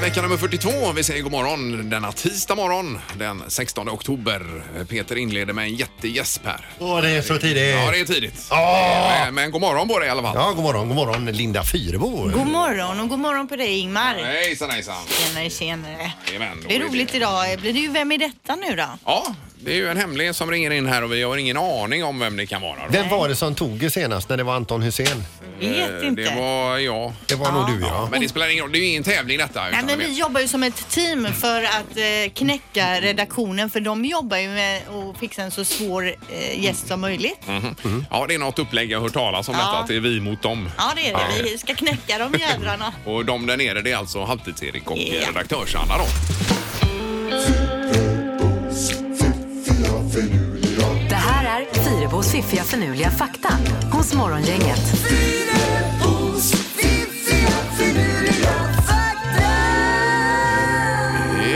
Vecka nummer 42. Vi säger god morgon denna tisdag morgon den 16 oktober. Peter inleder med en jättegäsp här. Åh, det är så tidigt. Ja, det är tidigt. Ja. Men, men god morgon på dig i alla fall. Ja, god morgon, god morgon Linda Fyrebo. God morgon och god morgon på dig Ingmar. Hejsan, hejsan. Tjenare, tjenare. Jajamän, då Det är är det- roligt idag. Blir det ju Vem är detta nu då? Ja, det är ju en hemlig som ringer in här och vi har ingen aning om vem det kan vara. då. Vem var det som tog det senast när det var Anton Hussein? Vet Eh, inte. Det var jag. Det var nog du ja. Men det spelar ingen roll, det är ju ingen tävling detta. Nej, utan men det- vi jobbar ju som ett team för att eh, knäcka redaktionen för de jobbar ju med att fixa en så svår eh, gäst som möjligt. Mm. Mhm. Mm. Ja, det är något upplägg jag har hört talas om Ja. detta, att det är vi mot dem. Ja, det är det. Vi ska knäcka de jädrarna. Och de där nere, det är alltså Halvtids-Erik och eh, Ja. redaktörs-Anna då. Det här är Fyrabos fiffiga förnuliga fakta hos Morgongänget.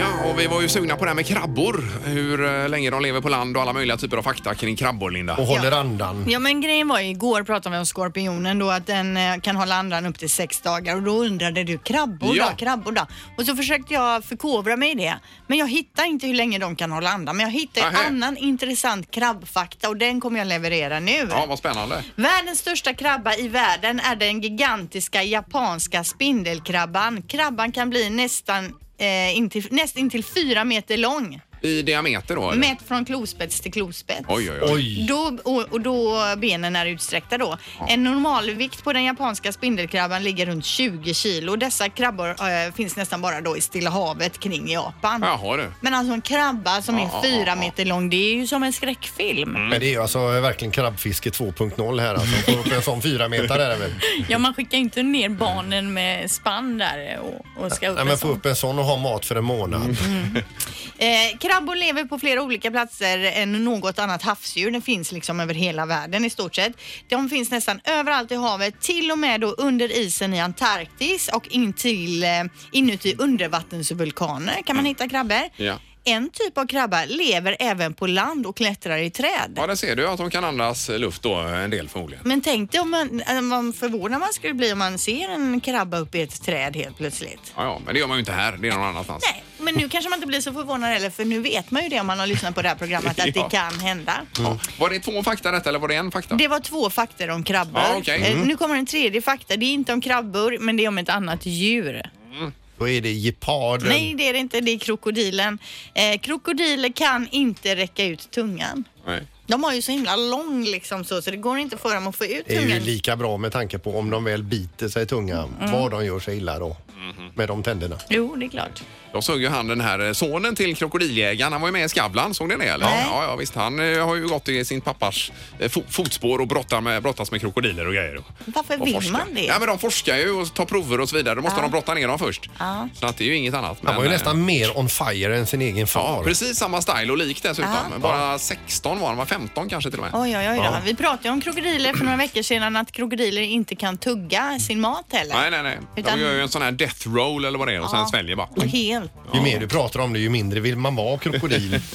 Ja, och vi var ju sugna på det här med krabbor. Hur eh, länge de lever på land och alla möjliga typer av fakta kring krabbor, Linda. Och håller andan. Ja Mm. men grejen var ju, igår pratade vi om skorpionen då att den eh, kan hålla andan upp till sex dagar och då undrade du krabbor Ja. då, krabbor då. Och så försökte jag förkovra mig i det. Men jag hittar inte hur länge de kan hålla andan. Men jag hittar Nähä. en annan intressant krabbfakta och den kommer jag leverera nu. Ja, vad spännande. Världens största krabba i världen är den gigantiska japanska spindelkrabban. Krabban kan bli nästan eh, intill, näst intill fyra meter lång. I diameter då? eller? Mätt från klospets till klospets. Oj, oj, oj. Oj. Då, och, och då benen är utsträckta då. En normalvikt på den japanska spindelkrabban ligger runt 20 kilo. Dessa krabbor eh, finns nästan bara då i Stilla havet kring Japan. Jaha du. Men alltså en krabba som Ja, är ja, fyra ja. meter lång, det är ju som en skräckfilm. Men det är ju alltså verkligen krabbfiske 2.0 här alltså. Får upp en sån fyra meter där även. Mm. Ja, man skickar ju inte ner barnen med spann där och, och ska upp Nej en men få sån. upp en sån och ha mat för en månad. Mm. Eh, krabbor lever på flera olika platser än något annat havsdjur. Den finns liksom över hela världen i stort sett. De finns nästan överallt i havet, till och med då under isen i Antarktis och in till, eh, inuti undervattensvulkaner kan man hitta krabbor. Mm. Ja. En typ av krabba lever även på land och klättrar i träd. Ja, där ser du att de kan andas luft då, en del förmodligen. Men tänk dig om man, eh, vad förvånad man skulle bli om man ser en krabba uppe i ett träd helt plötsligt. Ja, ja, men det gör man ju inte här, det är någon annanstans. Nej, men nu kanske man inte blir så förvånad heller för nu vet man ju det om man har lyssnat på det här programmet att Ja. det kan hända. Ja. Var det två fakta detta eller var det en fakta? Det var två faktor om krabbor. Ja, okej. Mm. Eh, Nu kommer en tredje fakta. Det är inte om krabbor, men det är om ett annat djur. Då är det geparden. Nej, det är det inte. Det är krokodilen. Eh, krokodiler kan inte räcka ut tungan. Nej. De har ju så himla lång liksom så, så det går inte för dem att få ut Det är ju tungan. Mm. lika bra med tanke på om de väl biter sig i tungan, var de gör sig illa då. Mhm. Med de tänderna. Jo, det är klart. Jag såg ju han den här eh, sonen till krokodiljägaren, han var ju med i Skavlan, såg ni det eller? Nej. Ja, ja visst, han eh, har ju gått i sin pappas eh, fo- fotspår och brottar med, brottas med krokodiler och grejer. Varför Och vill forskar. man det? Ja, men de forskar ju och tar prover och så vidare. Då måste Ja. de brotta ner dem först. Ja. Så att det är ju inget annat. Han var ju Men, eh, nästan mer on fire än sin egen Ja, far. precis samma style och lik dessutom. Ja. Bara 16 var han, var 15 kanske till och med. Oj, oj, oj då. Vi pratade ju om krokodiler för några veckor sedan att krokodiler inte kan tugga sin mat heller. Nej, nej, nej. Utan- De gör ju en sån här death roll eller vad det är och sen Ja. sväljer bara. Helt. Ju mer du pratar om det ju mindre vill man vara krokodil.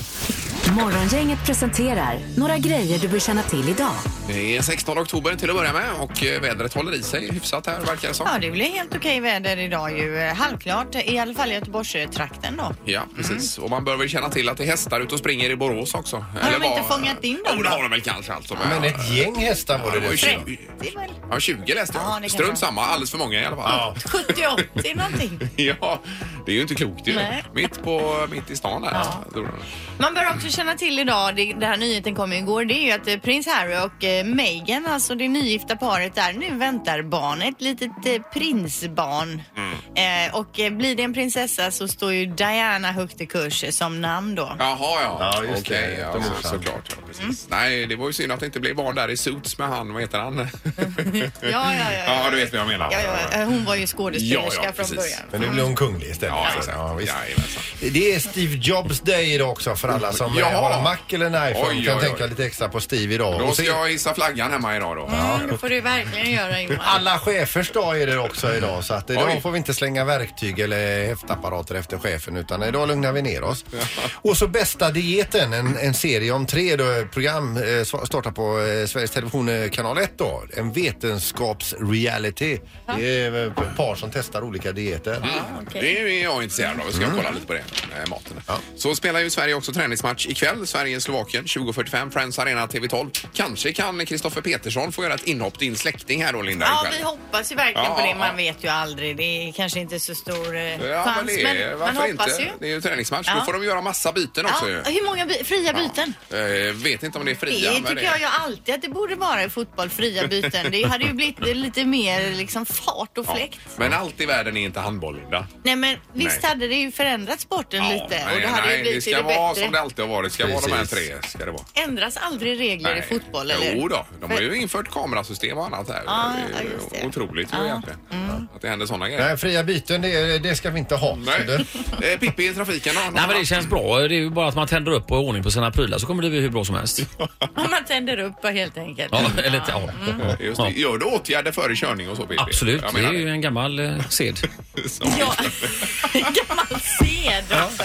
Morgongänget presenterar några grejer du bör känna till idag. Det är 16 oktober till att börja med och eh, vädret håller i sig hyfsat här verkar det som. Ja, det blir helt okej väder idag ju. Eh, Halvklart, i alla fall i Göteborgstrakten då. Ja, precis. Och man bör väl känna till att det är hästar ute och springer i Borås också. Har de inte fångat in dem Jo, det då? har de väl kanske alltså. Men ett gäng hästar var ja, det det var ju dessutom. 20, Det är väl ja, 20 läste Ja, det jag. kan Strunt vara. samma, alldeles för många i alla fall. 70-80 någonting. Ja, det är ju inte klokt ju. Nej. Mitt, på, mitt i stan här. tror jag. Man bör också känna till idag, det, den här nyheten kom ju igår, det är ju att eh, prins Harry och eh, Meghan, alltså det nygifta paret där, nu väntar barn, ett litet eh, prinsbarn. Mm. Eh, och eh, blir det en prinsessa så står ju Diana högt i kurs eh, som namn då. Jaha, ja. Ja, just Okej, det. Ja, De är så- sant. såklart. Ja, precis. Mm. Nej, det var ju synd att det inte blev barn där i Suits med han, vad heter han? Ja, ja, ja. ja. ja, du vet vad jag menar. ja, ja. eh, Hon var ju Ja, skådespelerska ja, från precis. början. Men nu blir hon kunglig istället. Ja, Så, exakt. ja, visst. Jajamensan. Det är Steve Jobs Day idag också för alla som eh, Jaha. har en Mac eller en iPhone Oj, kan oj, tänka oj. lite extra på Steve idag. Då Och ska se- jag i visa flaggan hemma idag då. Mm, då får du verkligen göra Ingmar. Alla chefers dag är det också idag så att idag Oj. får vi inte slänga verktyg eller häftapparater efter chefen utan idag lugnar vi ner oss. Och så bästa dieten, en, en serie om tre då, program eh, sva- startar på eh, Sveriges Television eh, kanal 1 då. En vetenskapsreality. Det är eh, par som testar olika dieter. Mm. okej. Det är jag intresserad av. Vi ska Mm. kolla lite på det. eh, Maten. Så spelar ju Sverige också träningsmatch ikväll. Sverige-Slovakien 20.45, Friends Arena TV12. Kanske kan Kristoffer Petersson få göra ett inhopp. Din släkting här då Linda. Ja, ikväll. vi hoppas ju verkligen Ja, på ja, det. Man ja. vet ju aldrig. Det är kanske inte så stor eh, Ja, chans, men det är, men man varför hoppas inte? ju. Det är ju träningsmatch. Då Ja. får de göra massa byten också ju. Ja, hur många by- fria byten? Eh, vet inte om det är fria. Det men tycker jag ju alltid att det borde vara i fotboll, fria byten. Det hade ju blivit lite mer liksom fart och Ja. fläkt. Men allt i världen är inte handboll, Linda. Nej men visst Nej. hade det ju förändrat sporten Ja, lite nej, och det hade nej, ju det blivit ska till det vara bättre. som det alltid har varit. Det ska vara de här Precis. tre. Ska det vara. Ändras aldrig regler i Nej. fotboll eller? Jo då, de har ju infört kamerasystem och annat här. Ja, det är ja, Mm. ju just det. otroligt ju egentligen. Att det händer sådana grejer. Nej, fria byten det, det ska vi inte ha. Nej. Du. Eh, Pippi i trafiken då? Nej men det känns bra. Det är ju bara att man tänder upp och har ordning på sina prylar så kommer det bli hur bra som helst. Om man tänder upp helt enkelt. Ja, eller, ja. Just det. Gör du åtgärder före körning och så Pippi? Absolut, Jag det menar är ju en gammal eh, sed. Ja, gammal sed också.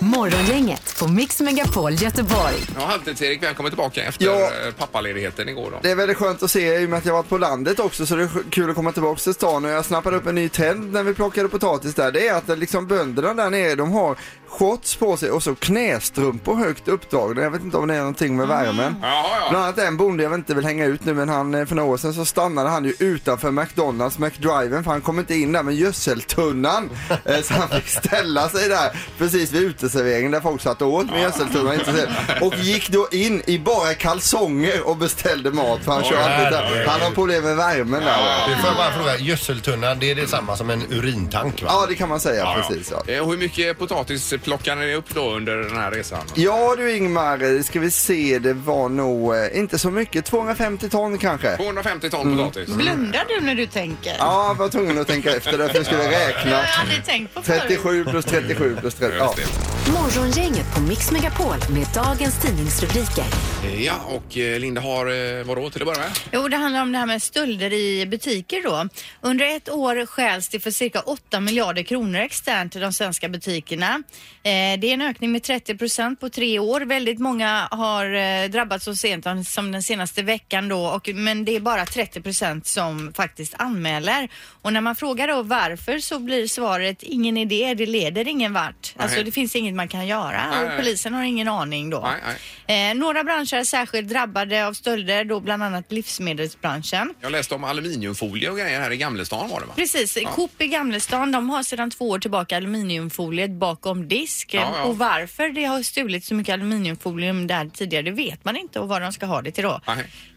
Morgongänget på Mix Megapol Göteborg. Ja, Halvtids-Erik, välkommen tillbaka efter Ja. eh, pappaledigheten igår då. Det är väldigt skönt att se i och med att jag varit på landet också så det är kul att komma tillbaka till stan och jag snappade upp en ny trend när vi plockade potatis där. Det är att det liksom bönderna där nere de har shorts på sig och så knästrumpor högt uppdragna. Jag vet inte om det är någonting med värmen. Jaha, ja. Bland annat en bonde jag inte vill hänga ut nu men han eh, för några år sedan så stannade han ju utanför McDonalds McDriven för han kom inte in där med gödseltunnan. Eh, så han fick ställa sig där precis vid uteserveringen där folk satt och åt med gödseltunnan. Inte sett. och gick då in i bara kalsonger och beställde mat för han kör alltid där. Han har problem med värmen där. Det får jag bara fråga, gödseltunnan det är detsamma som en urintank va? Ja det kan man säga precis. Ja. Eh, och hur mycket potatis plockade ni upp då under den här resan? Ja du Ingmar, eh, ska vi se, det var nog eh, inte så mycket, 250 ton kanske. 250 ton Mm. potatis. Blundar du när du tänker? Ja, jag var tvungen att tänka efter där för jag skulle Det har räkna. jag aldrig tänkt på förut. 37 plus 37 plus 30. Ja. Just det. Morgongänget på Mix Megapol med dagens tidningsrubriker. Eh, Ja, och eh, Linda har eh, vadå till att börja med? Jo, det handlar om det här med stölder i butiker då. Under ett år stjäls det för cirka 8 miljarder kronor externt i de svenska butikerna. Eh, det är en ökning med 30 procent på tre år. Väldigt många har eh, drabbats så sent om- som den senaste veckan då, och, men det är bara 30 procent som faktiskt anmäler. Och när man frågar då varför så blir svaret ingen idé, det leder ingen vart. Alltså Nej. det finns inget man kan Nej, göra nej. och polisen har ingen aning då. Nej, nej. Eh, några branscher är särskilt drabbade av stölder, då bland annat livsmedelsbranschen. Jag läste om aluminiumfolie och grejer här i Gamlestan var det va? Precis, Coop i Gamlestan de har sedan två år tillbaka aluminiumfoliet bakom disk. Ja, ja. Och varför det har stulit så mycket aluminiumfolium där tidigare det vet man inte och vad de ska ha det till då.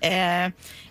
Eh,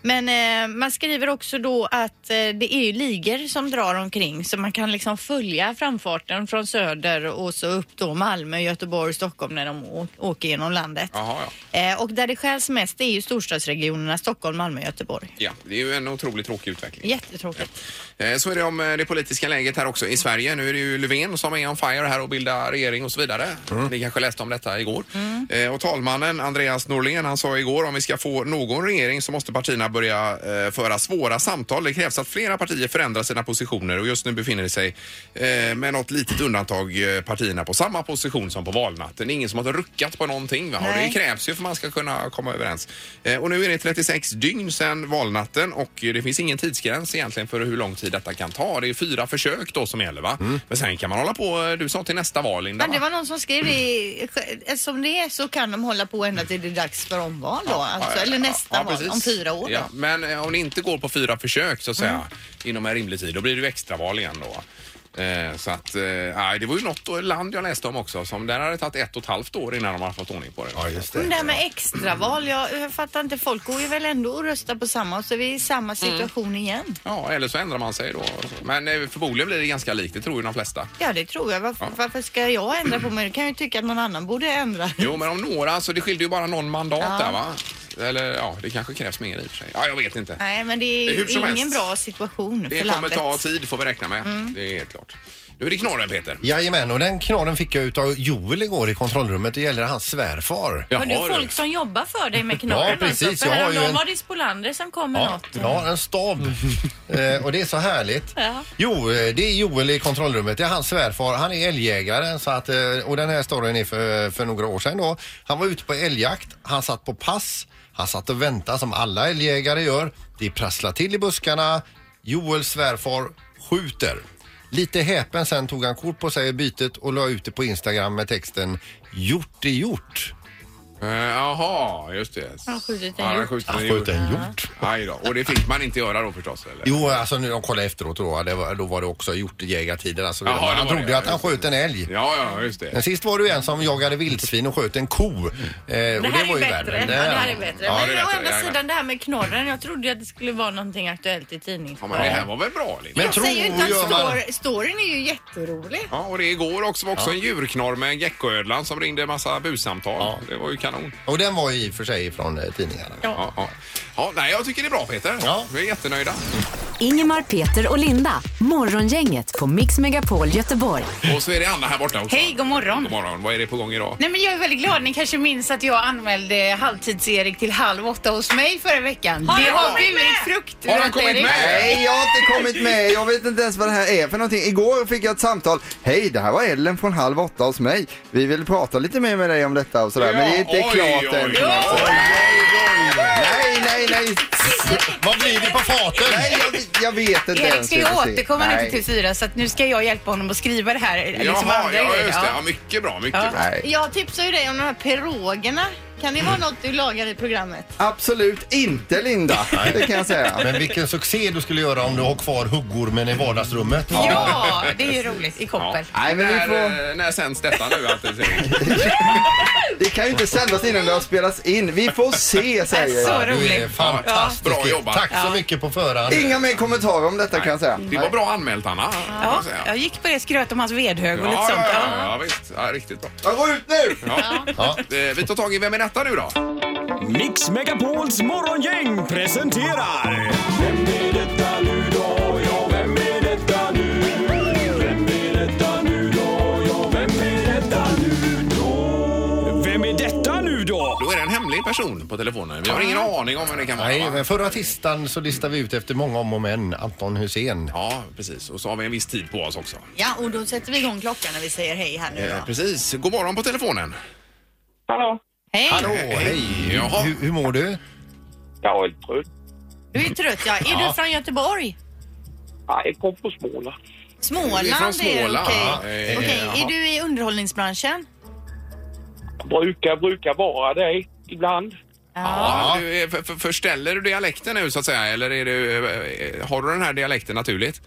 men eh, man skriver också då att eh, det är ju ligor som drar omkring så man kan liksom följa framfarten från söder och så upp då Malmö, Göteborg, Stockholm när de å- åker genom landet. Jaha, ja. Eh, och där det stjäls mest det är ju storstadsregionerna Stockholm, Malmö, Göteborg. Ja, det är ju en otroligt tråkig utveckling. Jättetråkigt. Eh, Så är det om eh, det politiska läget här också i Sverige. Nu är det ju Löfven som är on fire här och bildar regering och så vidare. Ni kanske läste om detta igår. Eh, Och talmannen Andreas Norlén han sa igår om vi ska få någon regering så måste partierna börja eh, föra svåra samtal. Det krävs att flera partier förändrar sina positioner och just nu befinner sig eh, med något litet undantag eh, partierna på samma position som på valnatten. Det är ingen som har ruckat på någonting va? Och det Nej. krävs ju för att man ska kunna komma överens. Eh, Och nu är det 36 dygn sedan valnatten och det finns ingen tidsgräns egentligen för hur lång tid detta kan ta. Det är fyra försök då som gäller va? Mm. Men sen kan man hålla på, eh, du sa till nästa val Linda Men det va? var någon som skrev det, eftersom det är så kan de hålla på ända till det är dags för omval då, alltså, eller nästa Ja, val precis. om fyra år. Mm. Ja, men eh, om det inte går på fyra försök så att säga inom en rimlig tid, då blir det ju extraval igen då. Eh, Så att, eh, nej, det var ju något land jag läste om också som där hade tagit ett och ett halvt år innan de hade fått ordning på det. Ja, just Men Mm, Det det. här med extraval, jag, jag fattar inte. Folk går ju väl ändå och röstar på samma och så är vi i Mm. samma situation igen. Ja, eller så ändrar man sig då. Men eh, förmodligen blir det ganska likt, det tror ju de flesta. Ja, det tror jag. Varför, Ja. varför ska jag ändra på mig? Då kan jag ju tycka att någon annan borde ändra. Jo, men om några, alltså det skilde ju bara någon mandat där va? Eller ja, det kanske krävs mer i och för sig. Ja, jag vet inte. Nej, men det är Hur ju som ingen helst. bra situation Det för kommer landet. ta tid får vi räkna med. Det är helt klart. Nu är det knorren Peter. Jajamän, och den knorren fick jag utav Joel igår i kontrollrummet. Det gäller hans svärfar. Jaha, Har du folk som jobbar för dig med knorren? Ja, precis. Alltså? Jag För har ju häromdagen en- var det Spolander som kom med Ja, något. ja, en stab. eh, och det är så härligt. Ja. Jo, eh, det är Joel i kontrollrummet. Det är hans svärfar. Han är älgjägare. Så att, eh, och den här storyn är för, för några år sedan då. Han var ute på älgjakt. Han satt på pass. Han satt och väntade som alla älgjägare gör. Det prasslar till i buskarna. Joels svärfar skjuter. Lite häpen sen tog han kort på sig i bytet och la ut det på Instagram med texten Gjort är gjort. Eh, Jaha, just det. Han har skjutit en Ja, hjort. skjutit Han en sköt hjort. en hjort. Aj då. Och det fick man inte göra då förstås? Eller? Jo, alltså nu de kollade efteråt då, det var, då var det också gjort i jägartider. Alltså, Jaha, det han var det, trodde ja, att han just det. sköt en älg. Ja, ja, just Men det. sist var det ju en som jagade vildsvin och sköt en ko. Eh, och det, Det här var är ju bättre. värre. Ja, det här är bättre. Ja, det är Men bättre. å Ja, ja. andra sidan det här med knorren. Jag trodde ju att det skulle vara någonting aktuellt i Ja, tidningen. men det här var väl bra Linda? Men Jag säger ju inte att tror jag- stor, storyn är ju jätterolig. Ja, och det igår också var också en djurknorr med en geckoödlan som ringde en massa bussamtal. Det var ju kanon. Och den var ju i och för sig från eh, tidningarna. Ja, ja. ja, nej, jag tycker det är bra Peter. Ja. Vi är jättenöjda. Ingemar, Peter och Linda. Morgongänget på Mix Megapol Göteborg. Och så är det Anna här borta också. Hej, god morgon. God morgon. Vad är det på gång idag? Nej, men jag är väldigt glad. Ni kanske minns att jag anmälde halvtids-Erik till halv åtta hos mig förra veckan. Har det han har kommit burit med? frukt. Har han vet kommit Erik. med? Nej, jag har inte kommit med. Jag vet inte ens vad det här är för någonting. Igår fick jag ett samtal. Hej, det här var Ellen från Halv åtta hos mig. Vi vill prata lite mer med dig om detta och sådär. Men det är inte Ja, oj, klart oj, än. oj, oj. Nej, nej, nej. Vad blir det på faten? Nej, jag, jag vet inte Erik ens. ska Vi ju får se. återkomma nu Nej. till fyra så att nu ska jag hjälpa honom att skriva det här. eller som Jaha, andra ja, grejer, just det. ja. Ja, mycket bra, mycket Ja. bra. Nej. Jag tipsar ju dig om de här pirogerna. Kan det vara Mm. något du lagar i programmet? Absolut inte Linda, det kan jag säga. Men vilken succé du skulle göra om du har kvar huggormen i vardagsrummet. Ja, det är ju roligt i koppel. Nej, men vi när, får- eh, när sänds detta nu? Alltid, Det kan ju inte sändas innan det har spelats in. Vi får se säger Så jag. Du är roligt. fantastisk. Ja. Bra jobbat. Tack så mycket på förhand. Inga mer kommentarer om detta kan jag säga. det var bra anmält, Anna. kan Ja, jag säga. jag gick på det skröt om hans vedhög och lite Ja, sånt. ja, Ja. ja, ja, visst. Ja, riktigt bra. Jag går ut nu! Ja. Ja. Eh, Vi tar tag i Vem är detta nu då? Mix Megapols morgongäng presenterar... Vem är detta nu då? Ja, vem är detta nu? Vem är detta nu då? Ja, vem är detta nu då? Vem är detta nu då? Då är det en hemlig person på telefonen. Vi har ingen aning om vem det kan vara. Nej, va? men förra tisdagen så listade vi ut efter många om och men Anton Hussein. Ja, precis. Och så har vi en viss tid på oss också. Ja, och då sätter vi igång klockan när vi säger hej här nu Eh, då. precis. God morgon på telefonen. Hallå? Hej! Hallå, hej! Jaha. Hur, hur mår du? Jag är trött. Du är trött ja. Är du från Göteborg? Nej, jag kom från Småland. Småland, Vi är från det Småland, okej. ja. Eh, Okej, jaha. är du i underhållningsbranschen? Jag brukar, brukar vara det ibland. Ja. Du, är- för, för, förställer du dialekten nu så att säga? Eller är du, eh, har du den här dialekten naturligt?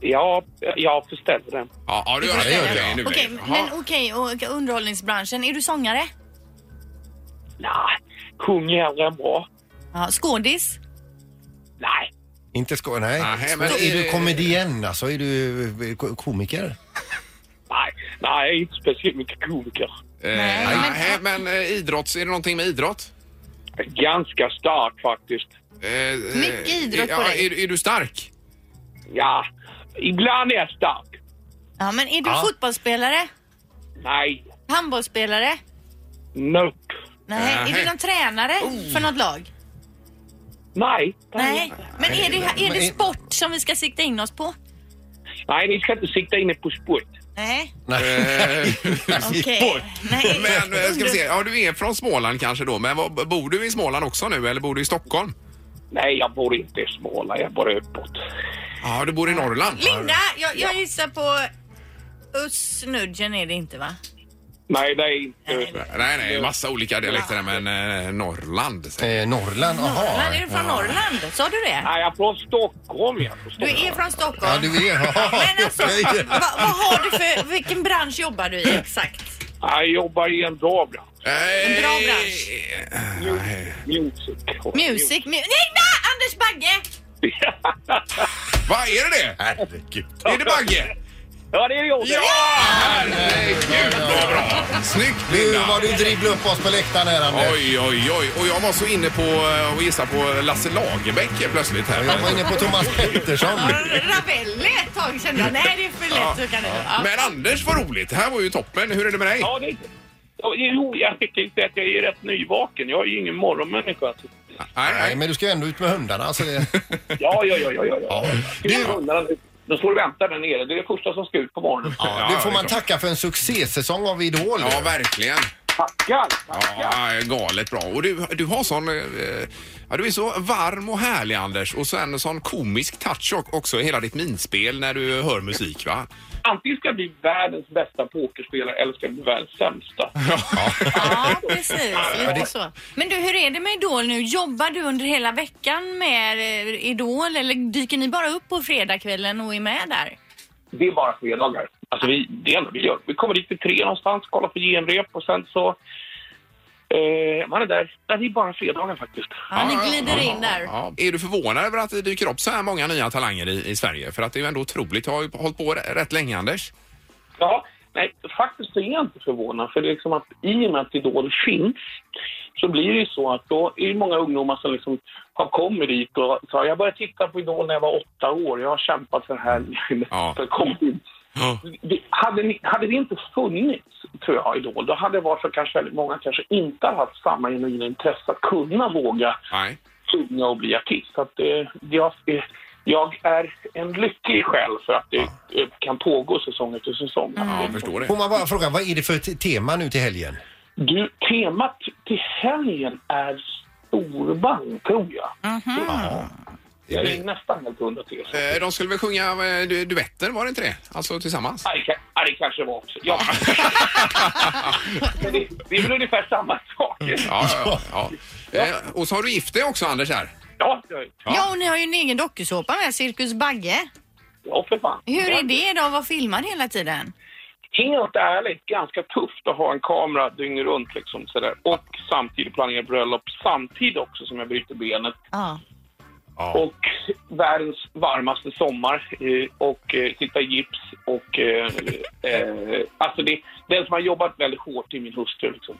Ja, jag förställer den. Ja, ja du gör det. förställer den. Okej, nu är det- Okej, Jaha. men okej, och underhållningsbranschen, är du sångare? Nej, kung är hellre än bra. Ja, skådis? Nej, Inte skoj, nej. Nej, men- men är du komedien, alltså? Är du eh, ko- komiker? nej, nej, jag är inte speciellt mycket komiker. Eh, Nej, nej, men- men, eh, idrotts, är det någonting med idrott? Jag är Ganska stark faktiskt. Eh, eh, Mycket idrott på ja, dig. Är, är du stark? Ja, ibland är jag stark. Ja, men är du fotbollsspelare? Nej, Handbollsspelare? nope. Nej. Nej. Är du någon tränare Oh. för något lag? Nej, Nej. Men är det, är Men- det sport som vi ska sikta in oss på? nej, ni ska inte sikta in er på sport. Nej, Eh, okej. Nej. men eh, ska vi se, ja, du är från Småland kanske då, men vad- bor du i Småland också nu eller bor du i Stockholm? Nej, jag bor inte i Småland, jag bor uppåt. Ja, du bor i Norrland. Linda, jag, jag gissar på Usnudgen är det inte va? Nej, det är inte... Nej, nej, massa olika dialekter där, men eh, Norrland. säger Eh, Norrland, Norrland, är jaha. du från Norrland? Sa du det? Nej, jag är från Stockholm. Jag är från Du Stockholm. är från Ja, Stockholm. du är... Men alltså, Okej. vad, vad har du för, vilken bransch jobbar du i exakt? Jag jobbar i en dagbrand. jag. En bra bransch. eh, Music. Musik, mu- Linda! Anders Bagge! Vad är det det? Herregud. Är det Bagge? ja, det är jag. Ja! Herregud vad bra! Snyggt Nu Linda! var du dribblar upp oss på läktaren här, Anders. Oj, oj, oj. Och jag var så inne på eh, att gissa på Lasse Lagerbäck plötsligt här. Jag var inne på Thomas Pettersson. Ravelli ett tag kände jag, nej det är för lätt. Så kan det vara. Men Anders, vad roligt. Det här var ju toppen. Hur är det med dig? Ja, det, ja, jo, jag tycker inte att jag är rätt nyvaken. Jag är ju ingen morgonmänniska. Alltså. Nej, nej, men du ska ju ändå ut med hundarna. Så det... Ja, ja, ja, ja, ja. ja. Du... De står och väntar där nere. Det är det första som ska ut på morgonen. Ja, det får är man klart. tacka för en succésäsong av Idol. Ja, verkligen. Tackar! Ja, galet bra. Och du, du har sån... eh, Ja, du är så varm och härlig, Anders. Och sen sån komisk touch och- också i hela ditt minspel när du hör musik, va? Antingen ska jag bli världens bästa pokerspelare eller ska jag bli världens sämsta. Ja, precis. Lite så. Men du, hur är det med Idol nu? Jobbar du under hela veckan med eh, Idol eller dyker ni bara upp på fredagskvällen och är med där? Det är bara fredagar. Alltså vi, det enda vi gör. Vi kommer dit vid tre någonstans, kollar på genrep och sen så... Eh, man är där. Nej, det är bara fredagar faktiskt. Ja, ni glider in där. Ja. Är du förvånad över att det dyker upp så här många nya talanger i, i Sverige? För att det är ju ändå otroligt. Du har ju hållit på r- rätt länge, Anders. Ja, nej, faktiskt så är jag inte förvånad. För det är liksom att i och med att Idol finns så blir det ju så att då är det många ungdomar som liksom har kommit dit och sa jag började titta på Idol när jag var åtta år. Jag har kämpat för det här Ja. för att komma dit. Det- Hade, ni, hade det inte funnits, tror jag, Idol, då hade det varit för kanske väldigt många kanske inte hade haft samma genuina intresse att kunna våga Nej. sjunga och bli artist. Så att, eh, jag, eh, jag är en lycklig själ för att det eh, kan pågå säsong efter säsong. Ja, jag förstår det. Får man bara fråga, vad är det för te- tema nu till helgen? Du, temat till helgen är storband, tror jag. Mhm. Jag är nästan helt hundra till. så. Eh, De skulle väl sjunga eh, du- duetter, var det inte det? Alltså tillsammans? Ja, det kan- Ja, det kanske var också. Ja. Men det, det är väl ungefär samma sak. Ja, ja, ja. Eh, Och så har du gift dig också, Anders, här. Ja, ja, Ja, och ni har ju en egen dokusåpa med, Cirkus Bagge. ja för fan. Hur är det då att vara filmad hela tiden? Helt ärligt, ganska tufft att ha en kamera dygnet runt liksom sådär. Och samtidigt planera bröllop, samtidigt också som jag bryter benet. Ja. Och världens varmaste sommar eh, och eh, sitta i gips och... Eh, eh, alltså det, den som har jobbat väldigt hårt i min hustru liksom.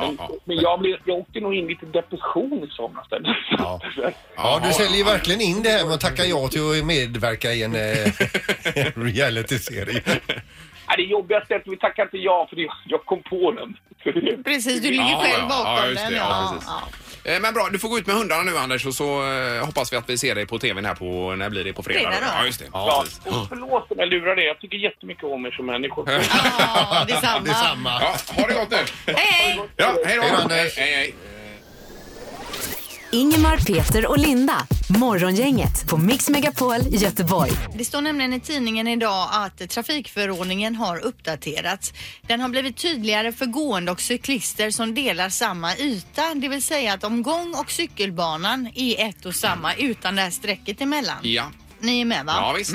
Men, men jag, blev, jag åkte nog in lite i depression i somras där. Ja. Ja, du säljer ju verkligen in det här med att tacka ja till att medverka i en eh, reality-serie. Nej, eh, det jobbigaste är att vi tackar inte ja för det, jag kom på den. Precis, du ligger Ja, ja, själv ja, bakom just det, den. ja, precis. Eh, Men bra, du får gå ut med hundarna nu Anders och så eh, hoppas vi att vi ser dig på tvn här på, när blir det? På fredag? Fredag då? Ja, just det. Ja, precis. och förlåt om jag lurar dig. Jag tycker jättemycket om er som människor. Ja, detsamma. Detsamma. Ja, ha det gott nu! Hej! Ja, hej då! Hej då, Anders. Hej, hej. Ingemar, Peter och Linda. Morgongänget på Mix Megapol Göteborg. Det står nämligen i tidningen idag att trafikförordningen har uppdaterats. Den har blivit tydligare för gående och cyklister som delar samma yta. Det vill säga att om gång och cykelbanan är ett och samma utan det här strecket emellan. Ja. Ni är med va? Ja, visst.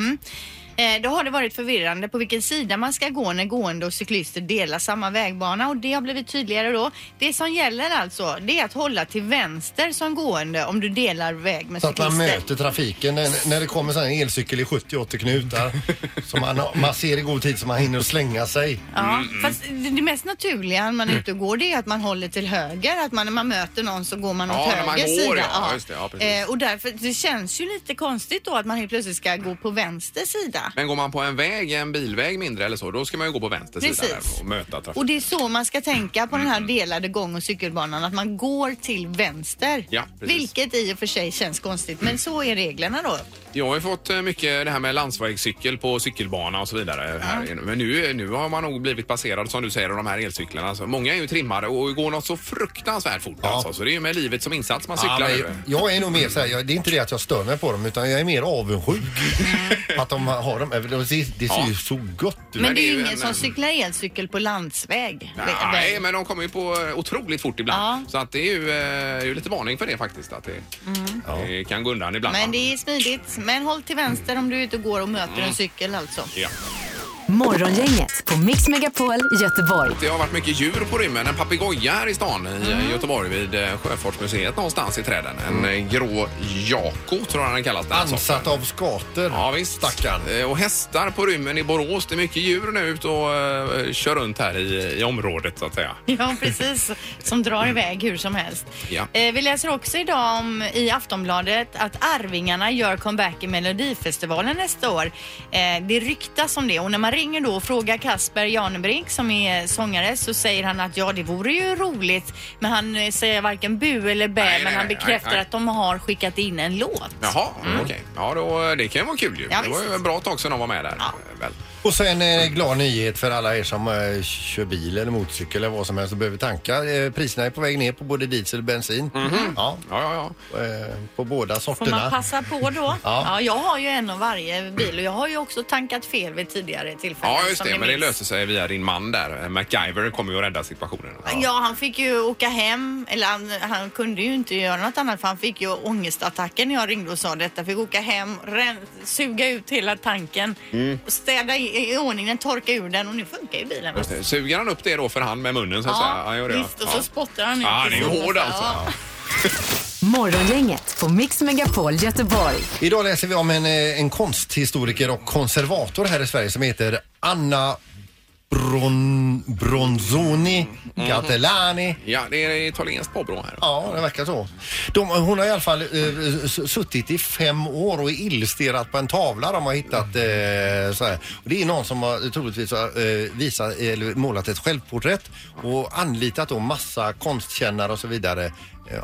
Eh, Då har det varit förvirrande på vilken sida man ska gå när gående och cyklister delar samma vägbana och det har blivit tydligare då. Det som gäller alltså, det är att hålla till vänster som gående om du delar väg med Så att cyklister. man möter trafiken när, när det kommer sån här elcykel i 70-80 knutar. Så man, har- man ser i god tid så man hinner att slänga sig. Ja, Mm, fast det det mest naturliga när man är ute och går det är att man håller till höger. Att man, när man möter någon så går man Ja, åt när höger man går, sida. ja. Ja, just det. Ja, precis. eh, och därför, det känns ju lite konstigt då att man helt plötsligt ska gå på vänster sida. Men går man på en väg, en bilväg mindre eller så, då ska man ju gå på vänster sida Precis. där och möta Mm, trafik. Och det är så man ska tänka på den här delade gång och cykelbanan, att man går till vänster. Ja, precis. vilket i och för sig känns konstigt, men så är reglerna då. Jag har ju fått eh, mycket det här med landsvägscykel på cykelbana och så vidare. Här. inne. Men nu, nu har man nog blivit passerad som du säger av de här elcyklarna. Alltså, många är ju trimmade och går något så fruktansvärt fort alltså. Så det är ju med livet som insats man cyklar Ja, men nu. jag- jag är nog mer så här, jag, det är inte det att jag stör mig på dem utan jag är mer avundsjuk. att de har dem, det ser, det ser ju så gott ut. Men Men det det är är ju ju ingen en- som cyklar elcykel på landsväg. Nej, men de kommer ju på eh, otroligt fort ibland. Så att det är ju, eh, ju lite varning för det faktiskt. Att det, Mm. det kan gå undan ibland. Mm. Men det är smidigt. Men håll till vänster om du är ute och går och möter en cykel alltså. Ja. Morgongänget på Mix Megapol Göteborg. Det har varit mycket djur på rymmen. En papegoja här i stan i eh, Göteborg vid eh, Sjöfartsmuseet någonstans i träden. En eh, grå jako tror jag den kallas. alltså. den här Ansatt av skator. Ja visst. Eh, Och hästar på rymmen i Borås. Det är mycket djur nu ut och eh, kör runt här i, i området så att säga. Ja, precis. Som drar iväg hur som helst. Mm. Ja. Eh, vi läser också idag om, i Aftonbladet att Arvingarna gör comeback i Melodifestivalen nästa år. Eh, det ryktas om det och när man ringer då och frågar Kasper Janebrink som är sångare så säger han att ja, det vore ju roligt. Men han eh, säger varken bu eller bä, men nej, han nej, bekräftar nej. att de har skickat in en låt. Jaha, okej. Ja, då, det kan ju vara kul ju. Ja, det var ju visst. bra tag sedan de var med där. eh, Väl. Och sen en glad nyhet för alla er som eh, kör bil eller motorcykel eller vad som helst och behöver tanka. Eh, priserna är på väg ner på både diesel och bensin. Ja. Ja, ja, Eh, på båda Får man sorterna. passa på då? Ja. Ja, jag har ju en av varje bil och jag har ju också tankat fel vid tidigare tillfällen. ja just som det. ni Men det minns. löser sig via din man där. Eh, MacGyver kommer ju att rädda situationen. Ja, han fick ju åka hem. Eller han, han kunde ju inte göra något annat för han fick ju ångestattacken när jag ringde och sa detta. Fick åka hem, ren, suga ut hela tanken, Mm. och städa i, i ordning den, torka ur den och nu funkar ju bilen. Just det. Eh, Suger han upp det då för hand med munnen så att säga? Han gör det, visst. Och så ja. spottar han ut. Ja, han är ju precis. hård alltså. Ja. Morgongänget på Mix Megapol Göteborg. Idag läser vi om en, eh, en konsthistoriker och konservator här i Sverige som heter Anna Bron, Bronzoni Gattelani. Ja, det är italienskt påbrå här. Ja, det verkar så. De, hon har i alla fall eh, s- suttit i fem år och illustrerat på en tavla de har hittat. Eh, så här. Och det är någon som har troligtvis har, eh, visat, eller målat ett självporträtt och anlitat då massa konstkännare och så vidare. Eh,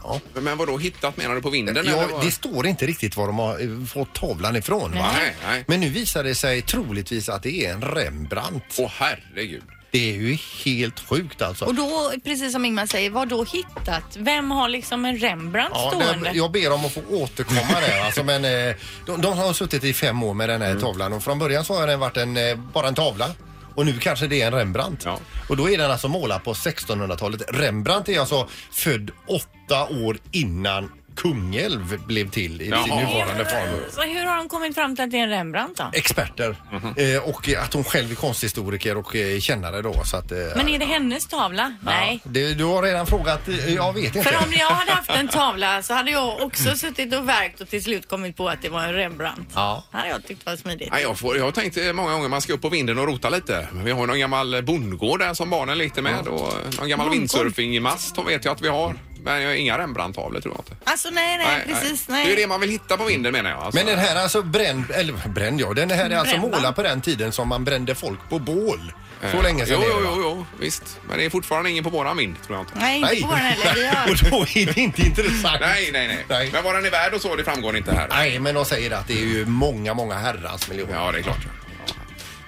Ja. Men vadå hittat menar du på vinden? eller Ja, vad? det står inte riktigt var de har eh, fått tavlan ifrån. Va? Nej, nej. Men nu visar det sig troligtvis att det är en Rembrandt. Åh herregud. Det är ju helt sjukt alltså. Och då, precis som Ingmar säger, vad då hittat? Vem har liksom en Rembrandt Ja, stående? det, jag ber om att få återkomma där. Alltså, men, eh, de, de har suttit i fem år med den Mm. här tavlan och från början så har den varit en, eh, bara en tavla. Och nu kanske det är en Rembrandt. Ja. Och då är den alltså målad på 1600-talet. Rembrandt är alltså född åtta år innan Kungälv blev till i sin Jaha. nuvarande form. Så hur har de kommit fram till att det är en Rembrandt då? Experter. Mhm. eh, och att hon själv är konsthistoriker och eh, kännare då. Så att, eh, Men är det hennes tavla? Nej. det, du har redan frågat, eh, jag vet inte. För om jag hade haft en tavla så hade jag också suttit och verkt och till slut kommit på att det var en Rembrandt. Ja. Det hade jag tyckt var smidigt. Nej, jag, får, jag har tänkt eh, många gånger man ska upp på vinden och rota lite. Men vi har ju någon gammal bondgård där som barnen lekte med och eh, någon gammal windsurfingmast vet jag att vi har. Men jag har inga Rembrandt-tavlor tror jag inte. Alltså nej, nej, precis, nej. Det är ju det man vill hitta på vinden menar jag. Alltså. Men den här är alltså bränd, eller bränd ja, den här är alltså Brända. målad på den tiden som man brände folk på bål. Så Eh, länge sedan jo, är det, jo, va? jo, jo, visst. Men det är fortfarande ingen på våran vind tror jag inte. Nej, inte på våran heller. Vi har... Och då är det inte intressant. Nej, nej, nej. Nej. Men vad den är värd och så, det framgår inte här. Nej, men de säger att det är ju många, många herrans miljoner. Ja, det är klart. Ja.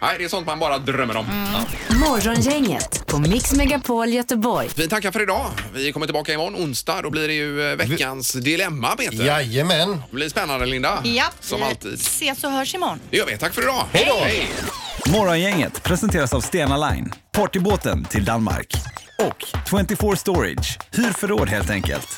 Nej, det är sånt man bara drömmer om. Mm. Morgongänget på Mix Megapol Göteborg. Vi tackar för idag. Vi kommer tillbaka imorgon onsdag. Då blir det ju eh, veckans dilemma, Peter. Jajamän. Det blir spännande, Linda. Japp, Som alltid. Ses och hörs imorgon. Det gör vi. Tack för idag. Hej då. Morgongänget presenteras av Stena Line, partybåten till Danmark och 24 Storage, hyr förråd helt enkelt.